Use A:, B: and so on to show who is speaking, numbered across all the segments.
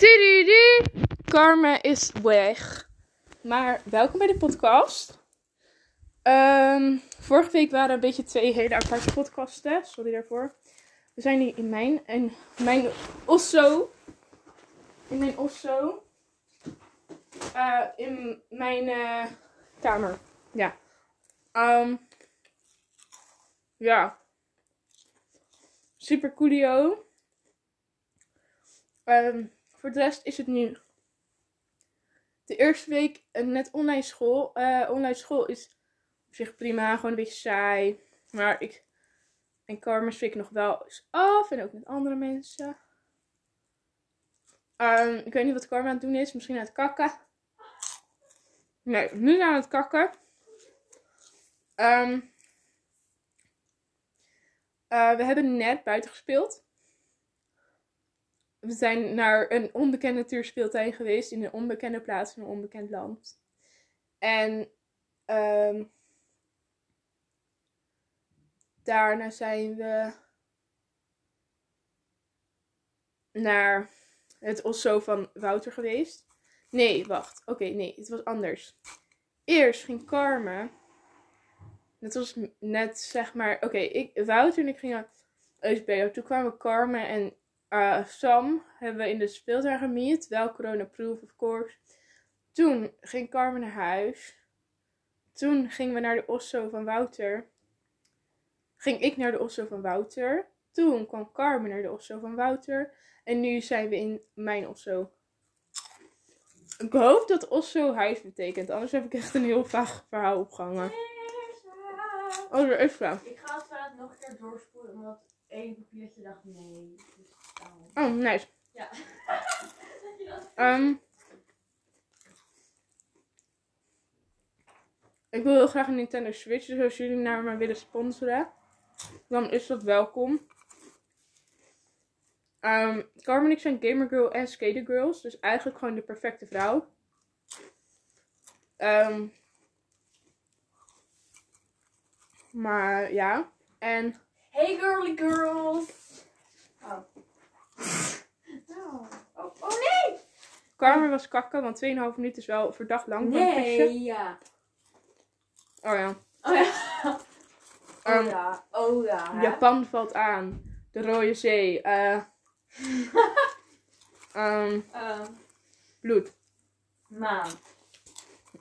A: Tududu. Karma is weg. Maar welkom bij de podcast. Ehm, vorige week waren een beetje twee hele aparte podcasten. Sorry daarvoor. We zijn nu in mijn en mijn osso. In mijn osso. Eh, in mijn eh, kamer. Ja. Ehm, ja. Super coolio. Ehm, voor de rest is het nu. De eerste week eh, net online school. Eh, online school is op zich prima, gewoon een beetje saai. Maar ik. En karma's vind ik nog wel eens af. En ook met andere mensen. Ehm, ik weet niet wat karma aan het doen is. Misschien aan het kakken. Nee, nu aan het kakken. Ehm, eh, we hebben net buiten gespeeld. We zijn naar een onbekende natuurspeeltuin geweest in een onbekende plaats in een onbekend land. En ehm, daarna zijn we naar het Osso van Wouter geweest. Nee, wacht. Oké, nee, het was anders. Eerst ging Carmen. Dat was m- net zeg maar. Oké, ik, Wouter en ik gingen naar Eusbedo. Toen kwamen Carmen en eh, Sam hebben we in de speeltuin gemiet. Wel corona-proof, of course. Toen ging Carmen naar huis. Toen gingen we naar de Osso van Wouter. Ging ik naar de Osso van Wouter. Toen kwam Carmen naar de Osso van Wouter. En nu zijn we in mijn Osso. Ik hoop dat Osso huis betekent. Anders heb ik echt een heel vaag verhaal opgehangen. Oh, er is wel.
B: Ik ga het verhaal nog een keer doorspoelen, omdat één papiertje dacht nee. Dus daarom.
A: Oh, nice.
B: Ja.
A: Ehm, ik wil heel graag een Nintendo Switch, dus als jullie naar me willen sponsoren, dan is dat welkom. Ehm Carmen en ik zijn gamer girl en skater girls, dus eigenlijk gewoon de perfecte vrouw. Ehm, maar ja, en
B: Hey girly girls! Oh. Nou. Oh, oh nee!
A: Carmen was kakken, want 2,5 minuten is wel verdacht lang voor een kusje.
B: ja.
A: Oh ja.
B: Oh ja.
A: Ehm,
B: Oh ja. Oh ja. hè?
A: Japan valt aan. De Rode Zee. eh, ehm,
B: Ehm,
A: bloed.
B: maan.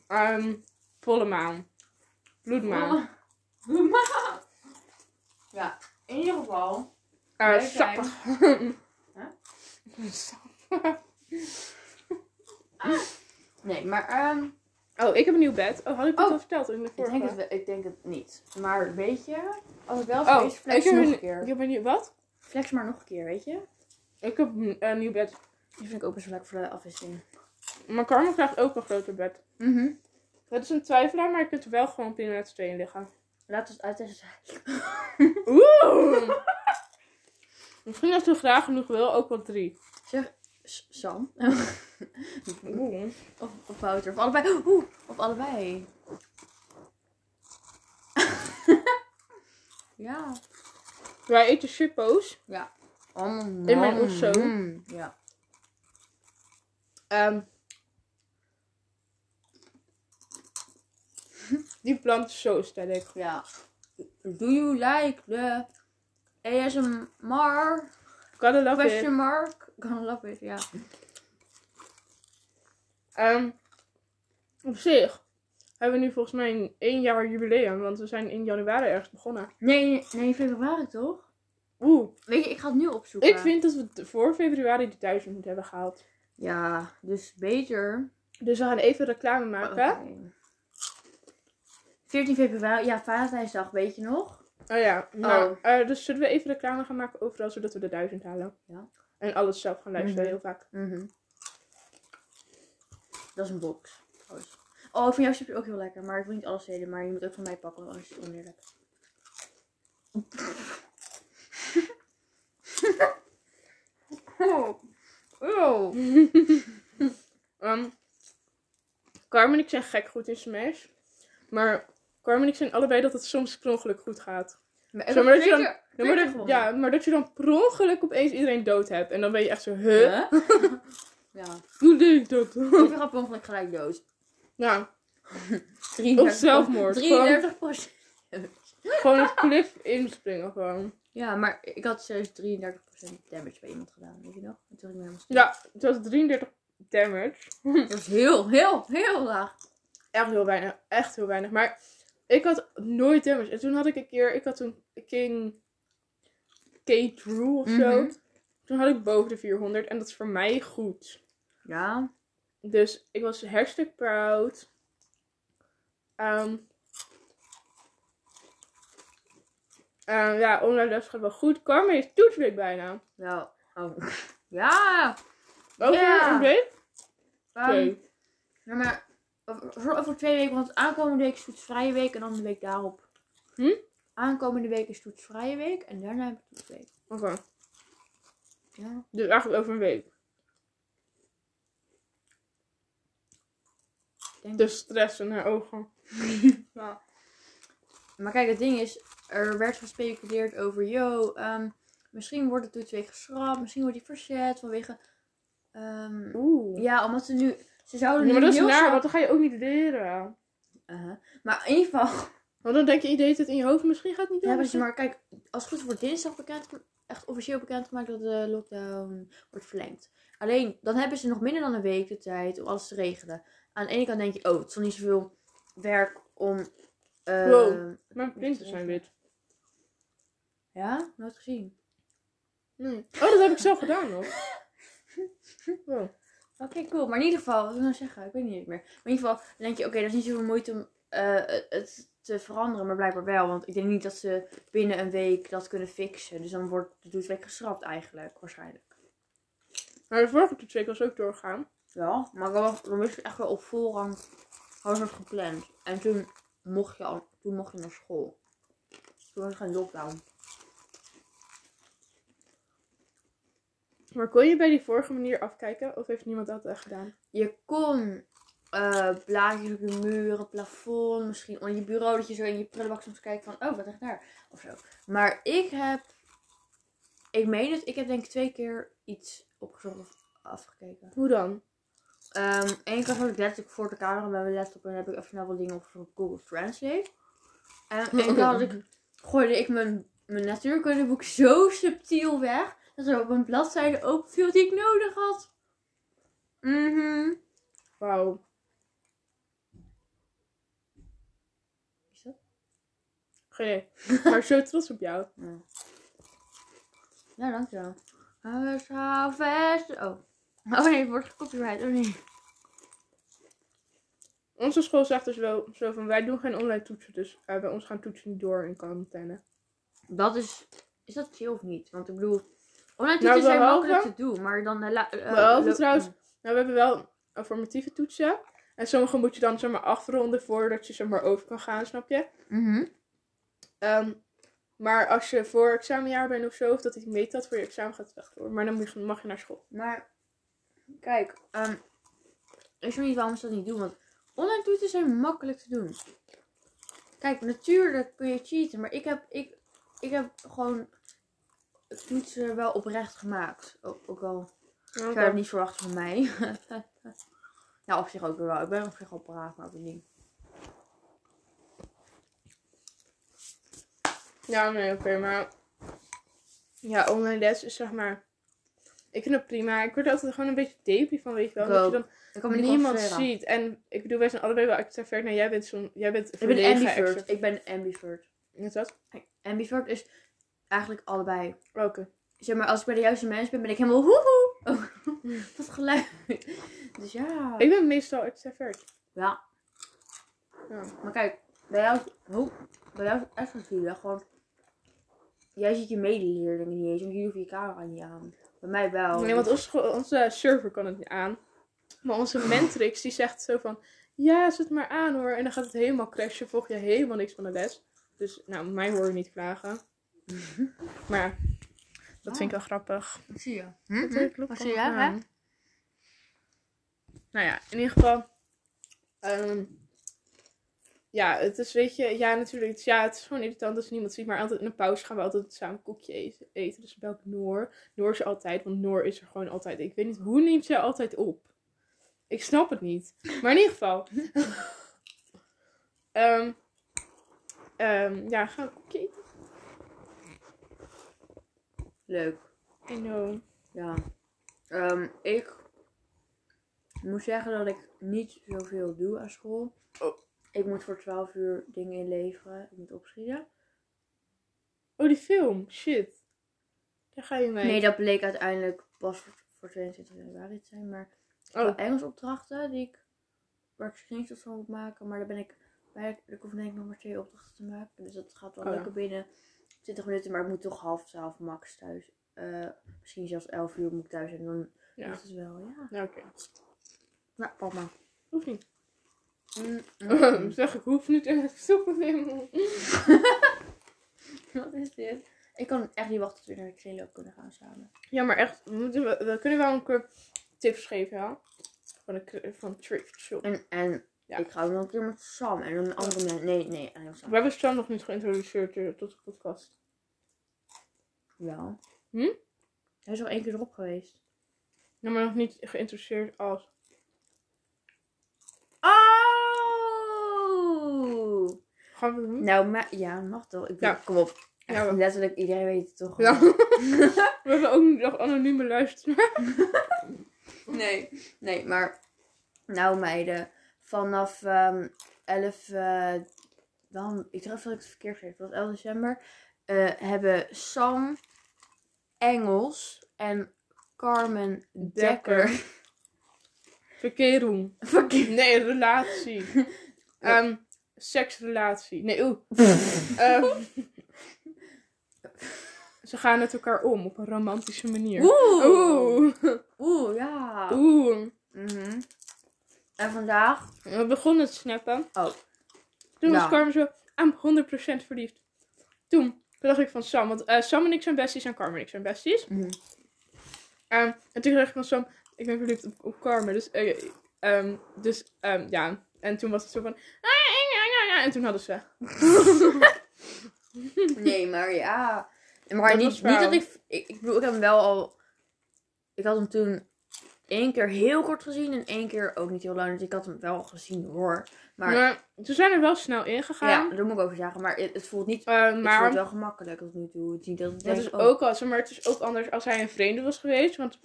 A: ehm, volle maan. Bloedmaan.
B: Maan. Maan. Ja, in ieder geval.
A: Eh,
B: wij
A: sappig.
B: Huh?
A: Sappig.
B: Nee, maar ehm
A: Oh, ik heb een nieuw bed. Oh, had ik dat
B: Oh.
A: al verteld in de
B: ik,
A: vorige?
B: denk het, wel- ik denk het niet. Maar weet je, als het wel zo
A: Oh,
B: is, flex
A: ik heb
B: nog
A: een,
B: een keer.
A: Ik heb een nieuw... Wat?
B: Flex maar nog een keer, weet je?
A: Ik heb een, een nieuw bed.
B: Die vind ik ook best leuk voor de afwisseling.
A: Maar Carmen krijgt ook een groter bed.
B: Mhm.
A: Dat is een twijfelaar, maar je kunt er wel gewoon prima met z'n tweeën liggen.
B: Laat ons uittesten.
A: Oeh! Misschien als ze graag genoeg wil, ook wel drie.
B: Zeg, S- Sam.
A: Oeh.
B: of, of Wouter. Of allebei. Oeh, of allebei. ja.
A: Wij eten chippo's.
B: In
A: mijn osso.
B: Mm, Ja.
A: Ehm. die plant is zo sterk.
B: Ja. Do you like the ASMR?
A: Gotta love it.
B: Question mark? Gonna love it, ja.
A: Ehm, op zich hebben we nu volgens mij een één jaar jubileum. Want we zijn in januari ergens begonnen.
B: Nee, nee, februari toch?
A: Oeh.
B: Weet je, ik ga het nu opzoeken.
A: Ik vind dat we t- voor februari de duizend moeten hebben gehaald.
B: Ja, dus beter.
A: Dus we gaan even reclame maken.
B: Oké. 14 februari, ja, Valentijnsdag, weet je nog?
A: Oh ja, nou,
B: Oh.
A: eh, dus zullen we even reclame gaan maken overal, zodat we de duizend halen?
B: Ja.
A: En alles zelf gaan luisteren,
B: Mhm.
A: heel vaak.
B: Dat is een box. trouwens. Oh, ik vind jouw chipje ook heel lekker, maar ik wil niet alles delen, maar je moet ook van mij pakken, want anders is het oneerlijk. oh. Oh.
A: Ehm Carmen en ik zijn gek goed in Smash. Maar Carmen en ik zijn allebei dat het soms per ongeluk goed gaat.
B: Maar
A: Zo, maar dat je dan-
B: dan...
A: Ja, maar dat, ja, maar dat je dan per ongeluk opeens iedereen dood hebt. En dan ben je echt zo, huh?
B: Ja.
A: Hoe deed ik dat?
B: Hoeveel gaat per ongeluk gelijk dood?
A: nou,
B: 33
A: zelfmoord, gewoon.
B: 33 procent.
A: gewoon het cliff inspringen gewoon.
B: Ja, maar ik had serieus 33 damage bij iemand gedaan, weet je nog? En toen was ik me helemaal stil.
A: Ja, het was 33 damage.
B: Dat was heel, heel, heel laag.
A: Echt heel weinig, echt heel weinig. Maar ik had nooit damage. En toen had ik een keer, ik had toen King Kate Rule of zo.
B: Mhm.
A: Toen had ik boven de 400 en dat is voor mij goed.
B: Ja.
A: Dus ik was hartstikke proud. Ehm ehm, ja, online les gaat wel goed. Karma is toetsweek bijna.
B: Nou. Oh. Ja.
A: Over
B: Ja.
A: een week?
B: Ehm,
A: Oké.
B: Ja, maar over, over twee weken, want aankomende week is toetsvrije week en dan de week daarop.
A: Hm?
B: Aankomende week is toetsvrije week en daarna heb ik toetsweek.
A: Oké.
B: Ja.
A: Dus eigenlijk over een week.
B: Denk
A: De stress in haar ogen.
B: Ja. Maar kijk, het ding is, er werd gespeculeerd over, yo, ehm, misschien wordt de toetsweek geschrapt, misschien wordt die verzet vanwege... ehm,
A: Oeh.
B: ja, omdat ze nu... Ze zouden
A: Nee, maar
B: nu
A: dat is
B: heel
A: naar,
B: snel-
A: want dan ga je ook niet leren.
B: Uh-huh. Maar in ieder geval...
A: Want dan denk je, je deed het in je hoofd, misschien gaat het niet
B: Ja,
A: door.
B: precies, maar kijk, als het goed wordt dinsdag bekend, echt officieel bekendgemaakt dat de lockdown wordt verlengd. Alleen, dan hebben ze nog minder dan een week de tijd om alles te regelen. Aan de ene kant denk je, oh, het is nog niet zoveel werk om... eh,
A: Wow. Mijn printen zijn wit.
B: Ja, nooit gezien.
A: Oh, dat heb ik zelf gedaan hoor. Wow.
B: Oké, cool. Maar in ieder geval, wat wil ik nou zeggen? Ik weet niet meer. Maar in ieder geval dan denk je, oké, dat is niet zoveel moeite om eh, het te veranderen. Maar blijkbaar wel. Want ik denk niet dat ze binnen een week dat kunnen fixen. Dus dan wordt de toetsweek geschrapt eigenlijk, waarschijnlijk.
A: Maar de vorige toetsweek was ook doorgaan.
B: Ja, maar dan was dan wist ik echt wel op voorrang hadden ze het gepland. En toen mocht je, al, toen mocht je naar school. Toen was er geen lockdown.
A: Maar kon je bij die vorige manier afkijken? Of heeft niemand dat echt gedaan?
B: Je kon eh, blaadjes op je muren, plafond, misschien onder je bureau, dat je zo in je prullenbak soms kijkt van, oh, wat ligt daar? Of zo. Maar ik heb, ik meen het, ik heb denk ik twee keer iets opgezocht of afgekeken.
A: Hoe dan?
B: Ehm Eén keer was ik letterlijk voor de camera met mijn laptop en heb ik even snel wat dingen opgezocht op Google Translate. En één keer had ik, gooide ik mijn, mijn natuurkundeboek zo subtiel weg, dat er op een bladzijde openviel die ik nodig had. Mhm.
A: Wauw.
B: Is dat?
A: Geen idee. Maar zo trots op jou.
B: Ja, ja dankjewel. Huis, hou vast. Oh. Oh nee, het wordt gecopyright. Oh nee.
A: Onze school zegt dus wel zo van, wij doen geen online toetsen. Dus eh, bij ons gaan toetsen niet door in quarantaine.
B: Dat is. Is dat chill of niet? Want ik bedoel. Online
A: Nou,
B: toetsen zijn
A: behalve-
B: dus makkelijk te doen, maar dan. eh, la- eh,
A: Behalve
B: lo-
A: trouwens- Nou, we hebben wel formatieve toetsen. En sommige moet je dan zeg maar afronden voordat je zeg maar over kan gaan, snap je?
B: Mhm.
A: Ehm, maar als je voor examenjaar bent of zo, of dat hij meet dat voor je examen gaat het echt door. Maar dan moet je- mag je naar school.
B: Maar. Kijk, ehm ik snap niet waarom ze dat niet doen, want online toetsen zijn makkelijk te doen. Kijk, natuurlijk kun je cheaten, maar ik heb, ik, ik heb gewoon toetsen wel oprecht gemaakt. Ook, ook al
A: Ja,
B: Ik zou het niet verwachten van mij. nou, op zich ook weer wel. Ik ben op zich al braaf, maar ook weer niet.
A: Ja, nee, oké, maar... Ja, online les is zeg maar... Ik vind het prima. Ik word er altijd gewoon een beetje depie van, weet je wel.
B: Ik
A: Dat je
B: ook.
A: dan
B: Ik kan me niet
A: niemand
B: concentreren.
A: ziet. En ik bedoel, wij zijn allebei wel extravert. Nou, jij bent zo'n... Jij bent
B: Ik ben
A: verlegen
B: ambivert.
A: extravert.
B: Ik ben ambivert.
A: Wat is dat?
B: Ambivert is eigenlijk allebei.
A: Oké.
B: Zeg maar, als ik bij de juiste mensen ben, ben ik helemaal woehoe. Oh, dat geluid. Dus ja.
A: Ik ben meestal extravert.
B: Ja.
A: Ja.
B: Maar kijk, bij jou, oh, bij jou is het echt natuurlijk gewoon... Jij ziet je medeleerlingen niet eens, want jullie hoeven je camera niet aan. Bij mij wel.
A: Nee, want onze, scho- onze server kan het niet aan. Maar onze mentrix die zegt zo van... Ja, zet maar aan hoor. En dan gaat het helemaal crashen. Volg je helemaal niks van de les. Dus nou, mij hoor je niet klagen. Maar dat vind ik wel grappig.
B: Ik zie je.
A: Dat klopt
B: Wat zie
A: wel
B: jij, hè?
A: aan. Nou ja, in ieder geval... ehm, Ja, het is, weet je, ja, natuurlijk. het is- ja, het is gewoon irritant als niemand ziet. Maar altijd in de pauze gaan we altijd samen koekje eten. eten. Dus ik bel ik Noor. Noor is er altijd, want Noor is er gewoon altijd. Ik weet niet, hoe neemt zij altijd op? Ik snap het niet. Maar in ieder geval. Ehm, ehm, ja, gaan we koekje eten?
B: Leuk.
A: I know.
B: Ja. Ehm, ik moet zeggen dat ik niet zoveel doe aan school.
A: Oh.
B: Ik moet voor 12 uur dingen inleveren. Ik moet opschieten.
A: Oh, die film. Shit. Daar ga je mee.
B: Nee, dat bleek uiteindelijk pas voor- voor 22 januari te zijn. Maar
A: oh,
B: Engelsopdrachten Engels opdrachten die ik, waar ik screenshots van moet maken. Maar daar ben ik bij. Ik hoef denk ik nog maar twee opdrachten te maken. Dus dat gaat wel
A: Oh ja.
B: lekker binnen 20 minuten. Maar ik moet toch half 12 max thuis. Eh, misschien zelfs 11 uur moet ik thuis zijn. Dan
A: Ja.
B: is het wel, ja.
A: nou oké.
B: Nou, papa.
A: Hoeft niet.
B: Mm, mm.
A: zeg, ik hoef niet echt stoppen te nemen.
B: Wat is dit? Ik kan echt niet wachten tot we naar de kringloop kunnen gaan samen.
A: Ja, maar echt, we, moeten, we, we kunnen wel een keer tips geven, ja? Van, een, k- van thrift shop.
B: En, en
A: Ja.
B: ik ga ook nog een keer met Sam en een andere mensen. Nee, nee, alleen met Sam.
A: We hebben Sam nog niet geïntroduceerd eh, tot de podcast.
B: Wel.
A: Hm?
B: Hij is al één keer erop geweest.
A: Ja, maar nog niet geïntroduceerd als...
B: Oh!
A: Gaan we dat doen?
B: Nou, maar ja, mag toch? Ik bedoel,
A: Ja.
B: kom op.
A: Ja,
B: Echt,
A: maar-
B: letterlijk, iedereen weet het toch?
A: Ja.
B: gewoon.
A: We hebben ook niet nog anonieme luisteraars.
B: Nee, nee, maar. Nou, meiden, vanaf ehm 11. eh, dan, ik dacht dat ik het verkeerd geef, dat was 11 december. eh, hebben Sam Engels en Carmen Dekker.
A: Verkering.
B: Verkeerd.
A: Nee, relatie. Ehm, seksrelatie. Nee, oeh. Ehm, ze gaan met elkaar om op een romantische manier.
B: Oeh! Oeh,
A: Oeh.
B: ja.
A: Oeh.
B: Mhm. En vandaag.
A: We begonnen te snappen.
B: Oh,
A: Toen
B: Ja.
A: was Carmen zo, I'm 100% verliefd. Toen, toen dacht ik van Sam, want eh, Sam en ik zijn besties en Carmen en ik zijn besties.
B: Mhm.
A: Ehm, en toen dacht ik van Sam, ik ben verliefd op, op Carmen. Dus, eh, ehm, dus ehm, ja. En toen was het zo van, "Ah, en toen hadden ze.
B: Nee, maar ja. Maar
A: Dat
B: niet,
A: was
B: niet
A: wel-
B: dat ik, ik... Ik bedoel, ik heb hem wel al... Ik had hem toen één keer heel kort gezien en één keer ook niet heel lang. Dus ik had hem wel gezien hoor. Maar ja,
A: Maar ze zijn er wel snel ingegaan.
B: daar moet ik over zeggen. Maar het, het voelt niet...
A: gegaan.
B: Het
A: maar
B: voelt wel gemakkelijk tot nu toe. Het is niet dat ik
A: Dat
B: denk,
A: is
B: oh,
A: ook al zo, maar het is ook anders als hij een vreemde was geweest. Want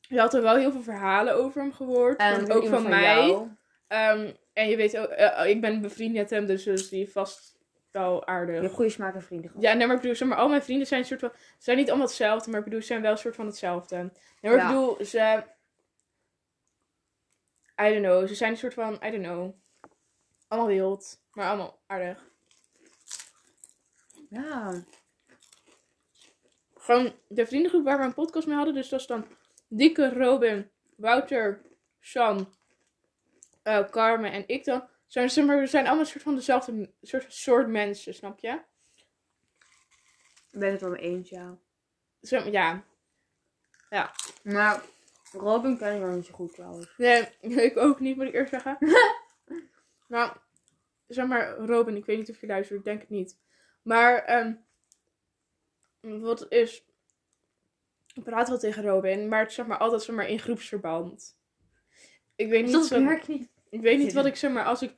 A: je had er wel heel veel verhalen over hem gehoord.
B: en
A: van-
B: weer
A: ook
B: iemand
A: van, mij.
B: jou.
A: Ehm, en je weet ook, eh, ik ben bevriend met hem, dus, dus die vast wel
B: Je
A: aardig.
B: hebt goede smaak en vrienden gehad.
A: Ja, nee, maar ik bedoel, zeg maar al mijn vrienden zijn een soort van, zijn niet allemaal hetzelfde, maar ik bedoel, ze zijn wel een soort van hetzelfde. Nee, maar
B: Ja.
A: ik bedoel, ze, I don't know, ze zijn een soort van, I don't know, allemaal wild, maar allemaal aardig.
B: Ja.
A: gewoon de vriendengroep waar we een podcast mee hadden. Dus dat is dan Dikke, Robin, Wouter, Sam, eh, Carmen en ik dan. Zijn, zeg maar, we zijn allemaal een soort van dezelfde m- soort, soort mensen, snap je?
B: Ik ben het wel mee eens, ja.
A: Zeg maar, ja,
B: Maar Robin ken ik nog niet zo goed trouwens.
A: nee, ik ook niet, moet ik eerst zeggen. nou, zeg maar, Robin, ik weet niet of je luistert, ik denk het niet. Maar, ehm, wat is... Ik praat wel tegen Robin, maar het is zeg maar altijd zeg maar, in groepsverband. Ik weet niet
B: Dat
A: zo-
B: werkt niet.
A: Ik weet niet
B: Zin
A: wat
B: in.
A: ik zeg, maar als ik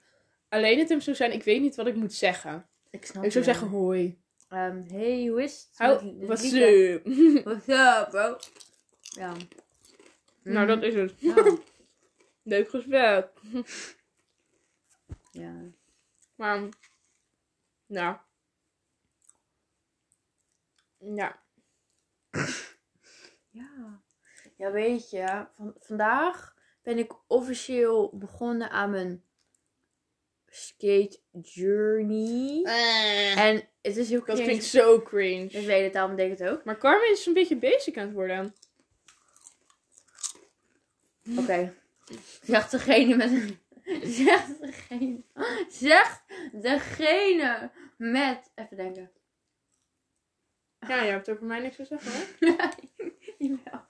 A: alleen het hem zou zijn, ik weet niet wat ik moet zeggen.
B: Ik snap
A: ik zou
B: je.
A: zeggen hoi.
B: Ehm, hey, hoe is het?
A: Hou,
B: Met-
A: wat
B: met-
A: ze.
B: What's up, bro? Ja. Mm.
A: Nou, dat is het.
B: Ja.
A: Leuk gesprek.
B: ja.
A: Maar, nou. Ja.
B: ja. Ja, weet je, van, vandaag ben ik officieel begonnen aan mijn skate journey. En het is heel
A: Eh. Dat
B: cringe.
A: klinkt zo
B: Ik
A: cringe.
B: weet het, daarom denk ik het ook.
A: Maar Carmen is een beetje basic aan het worden.
B: Oké. Zegt degene met een... Zegt degene... Zegt degene met... Even denken.
A: Ja, je hebt over mij niks te zeggen, hè?
B: Jawel.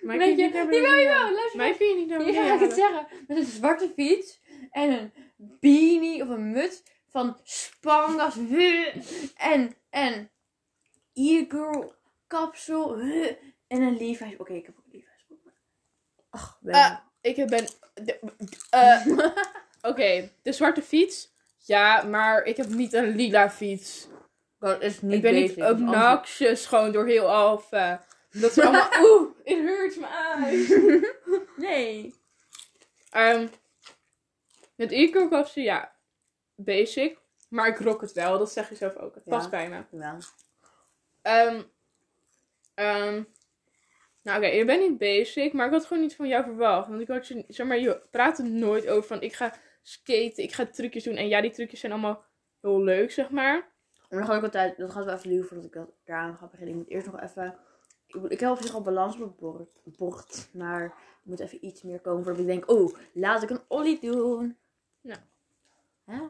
A: Mij kun
B: Weet je,
A: je niet naar
B: jawel,
A: beneden
B: jawel,
A: halen.
B: luister.
A: Mij kun je niet naar
B: Hier
A: beneden
B: ga ik het
A: halen.
B: zeggen. Met een zwarte fiets en een beanie of een muts van Spangas. huh, En, en e-girl kapsel. huh, En een Levi's. Oké, ik heb ook een Levi's. broek, maar- Ach, wel.
A: Ah. Ik ben. de- eh, Oké, de zwarte fiets. Ja, maar ik heb niet een lila fiets.
B: dat is niet
A: ik ben niet
B: basic, anders-
A: obnoxious gewoon door heel Alfa. Dat ze allemaal. Oeh, it hurts my eyes.
B: Nee.
A: Ehm met Eco koop ze ja, basic. Maar ik rock het wel, dat zeg je zelf ook. Het
B: Ja.
A: past bij me.
B: Ja.
A: Ehm ehm, nou oké, je bent niet basic, maar ik had gewoon niet van jou verwacht. Want ik had je, zeg maar, je praat er nooit over van ik ga skaten, ik ga trucjes doen. En ja, die trucjes zijn allemaal heel leuk, zeg maar.
B: En dan ga ik altijd, dat gaat wel even duren voordat ik dat daaraan ga beginnen. Ik moet eerst nog even, ik, moet- ik heb op zich al balans op het bord, bord, maar er moet even iets meer komen voordat ik denk, oh, laat ik een ollie doen.
A: Ja.
B: Hè?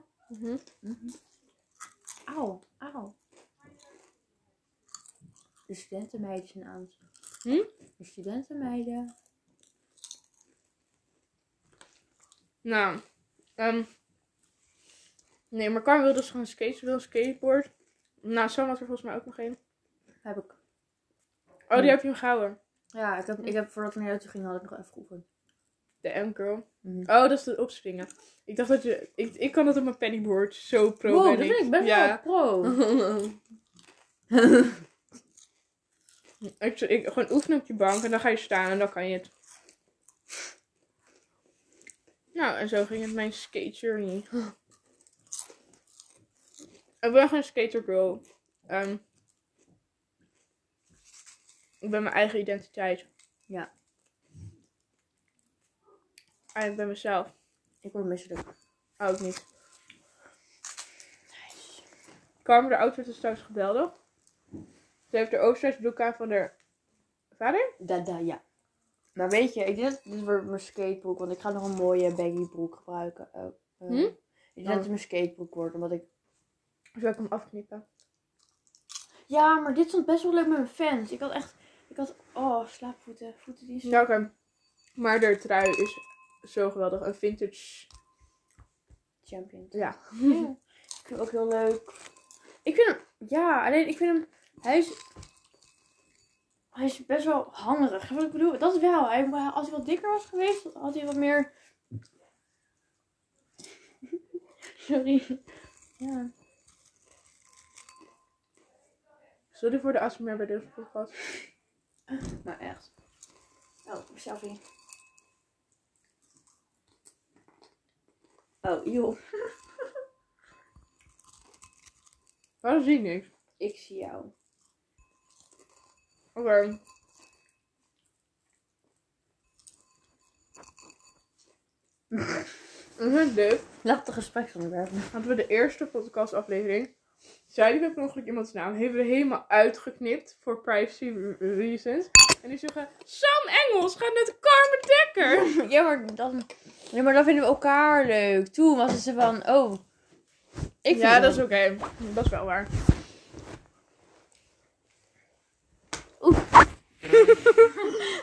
B: Auw, auw. De studentenmeiden zijn aan.
A: Hm?
B: De studentenmeiden.
A: Nou, ehm, nee, maar Carmen wil dus gewoon skaten, ze wil een skateboard. Nou, Sam had er volgens mij ook nog een.
B: Heb ik.
A: Oh, die
B: Hm.
A: heb je hem gehouden.
B: Ja, ik heb, ik heb voordat ik naar jou toe ging, had ik nog even geoefend.
A: De M-girl.
B: Mhm.
A: Oh, dat is het opspringen. Ik dacht dat je... Ik, ik kan dat op mijn pennyboard. Zo pro
B: Wow,
A: ben
B: dat vind ik best wel
A: Ja.
B: pro.
A: ik, ik, gewoon oefenen op je bank en dan ga je staan en dan kan je het. Nou, en zo ging het mijn skate journey. ik ben gewoon een skater girl. Ehm, ik ben mijn eigen identiteit.
B: Ja.
A: En Ah, ik ben mezelf.
B: ik word misselijk.
A: Ook niet. Carmen, de outfit is trouwens geweldig. Ze heeft de oversized broek aan van haar vader.
B: Da, da, ja. Maar weet je, ik denk dat dit wordt mijn skatebroek, want ik ga nog een mooie baggy broek gebruiken. eh, eh.
A: Hm?
B: Ik denk dat het mijn skatebroek wordt, omdat ik...
A: Zou ik hem afknippen?
B: Ja, maar dit stond best wel leuk met mijn fans. Ik had echt... Ik had... Oh, slaapvoeten. Voeten die...
A: Ja, oké. Maar de trui is zo geweldig. Een vintage.
B: Champion.
A: Ja.
B: Ja. Ik vind hem ook heel leuk. Ik vind hem... Ja, alleen ik vind hem... Hij is... Hij is best wel hangerig. Snap je Wat ik bedoel, dat wel. Hij, als hij wat dikker was geweest, had hij wat meer... Sorry. Ja.
A: Sorry voor de ASMR bij deze podcast.
B: Nou, echt. Oh, sorry. Oh, joh.
A: Waarom zie ik niks?
B: Ik zie jou.
A: Oké. Ik vind het leuk.
B: Laat de gespreksonderwerpen.
A: hadden we de eerste podcastaflevering. Zeiden we per ongeluk iemands naam. Hebben we helemaal uitgeknipt voor privacy re- reasons. En die zeggen, Sam Engels gaat met Carmen Dekker.
B: Ja, maar dan, ja, maar dan vinden we elkaar leuk. Toen was het ze van, oh. Ik
A: ja,
B: vind
A: dat is
B: hem-
A: oké. Dat is wel waar.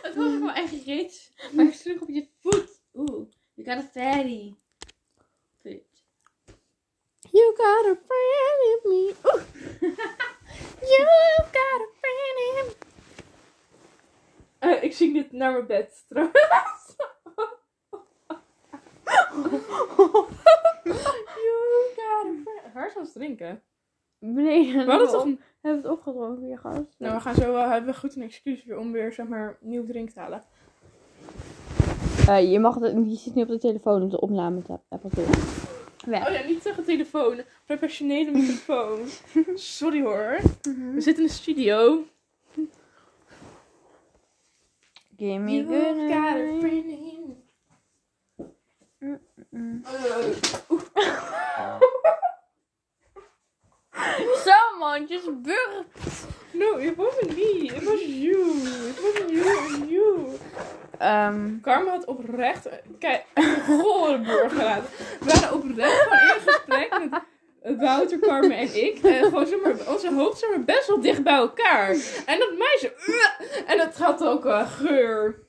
B: Het was ook mijn eigen reet. Maar ik sloeg op je voet. Oeh, you got a fatty. Foot.
A: You got a friend in me. Oeh. you got a friend in me. Eh, ik zing dit naar mijn bed trouwens. you got a friend. Haar zou eens drinken.
B: Nee,
A: We hadden toch
B: We hebben het opgedronken, je gast.
A: Nou, we gaan zo wel, hebben we goed een excuus weer om weer, zeg maar, nieuw drink te halen.
B: Eh, je, mag het, je zit nu op de telefoon, op de opname te hebben.
A: Oh ja, niet tegen telefoon. Professionele microfoon. Sorry hoor. We zitten in de studio.
B: Give me
A: You
B: good
A: got a
B: night.
A: friend in me. Eh,
B: Someone just burp.
A: No, it wasn't me. It was you. It was you and you.
B: Ehm,
A: Karma had oprecht... Kijk, een gore burgerraad. We waren oprecht gewoon in een gesprek met... Wouter, Carmen en ik. En gewoon zeg maar, onze hoofd zijn maar best wel dicht bij elkaar. En dat meisje. "Ugh." En dat had ook eh, geur.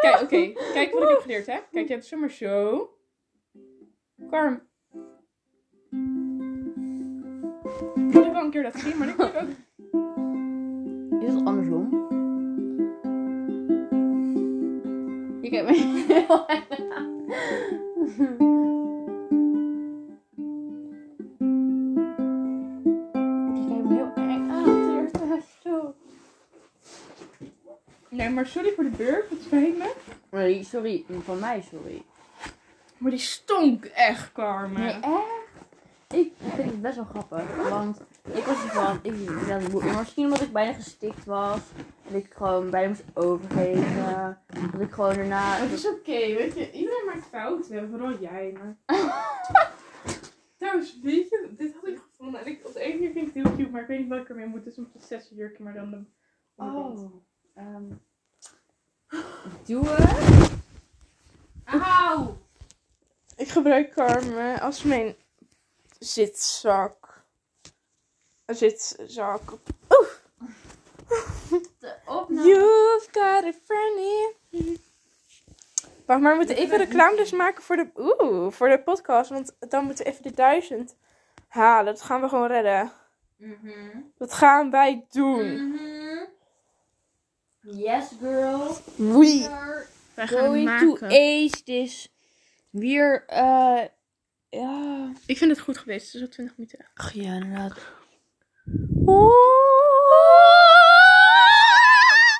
A: Kijk, oké. Kijk wat ik heb geleerd, hè? Kijk, je hebt zeg maar zo. Karm. Ik heb wel een keer dat gezien, maar ik denk ook.
B: Is het andersom? Je kijkt me heel erg aan. Je kijkt me heel erg aan. Teert. Zo.
A: Nee, maar sorry voor de beurt, het spijt me.
B: Nee, sorry. Van mij, sorry.
A: Maar die stonk echt, Carmen.
B: Nee, echt? Ik vind het best wel grappig. Want ik was ervan, ik dat ik moe- Misschien omdat ik bijna gestikt was. Dat ik gewoon bijna moest overgeven. Dat ik gewoon daarna.
A: Het is oké, weet je. Iedereen maakt fouten, vooral jij. Maar... Trouwens, weet je, dit had ik gevonden. En ik, op de ene manier vind ik het heel cute, maar ik weet niet wat ik ermee moet. Het is een prinsessenjurkje, maar dan de onderkant.
B: Oh. ehm doe het.
A: Auw! Ik gebruik Carmen als mijn zitzak. Zitzak.
B: De
A: Nou.
B: opname.
A: You've got a friend here. Wacht, maar we moeten
B: Dit
A: even
B: werd
A: reclame
B: niet-
A: dus maken voor de, oeh, voor de podcast. Want dan moeten we even de duizend halen. Dat gaan we gewoon redden.
B: Mhm.
A: Dat gaan wij doen.
B: Mhm. Yes, girl.
A: We gaan
B: We're
A: het
B: going to
A: maken.
B: ace this. Weer, eh. ja.
A: Ik vind het goed geweest. Het is al 20 minuten.
B: Ach ja, inderdaad.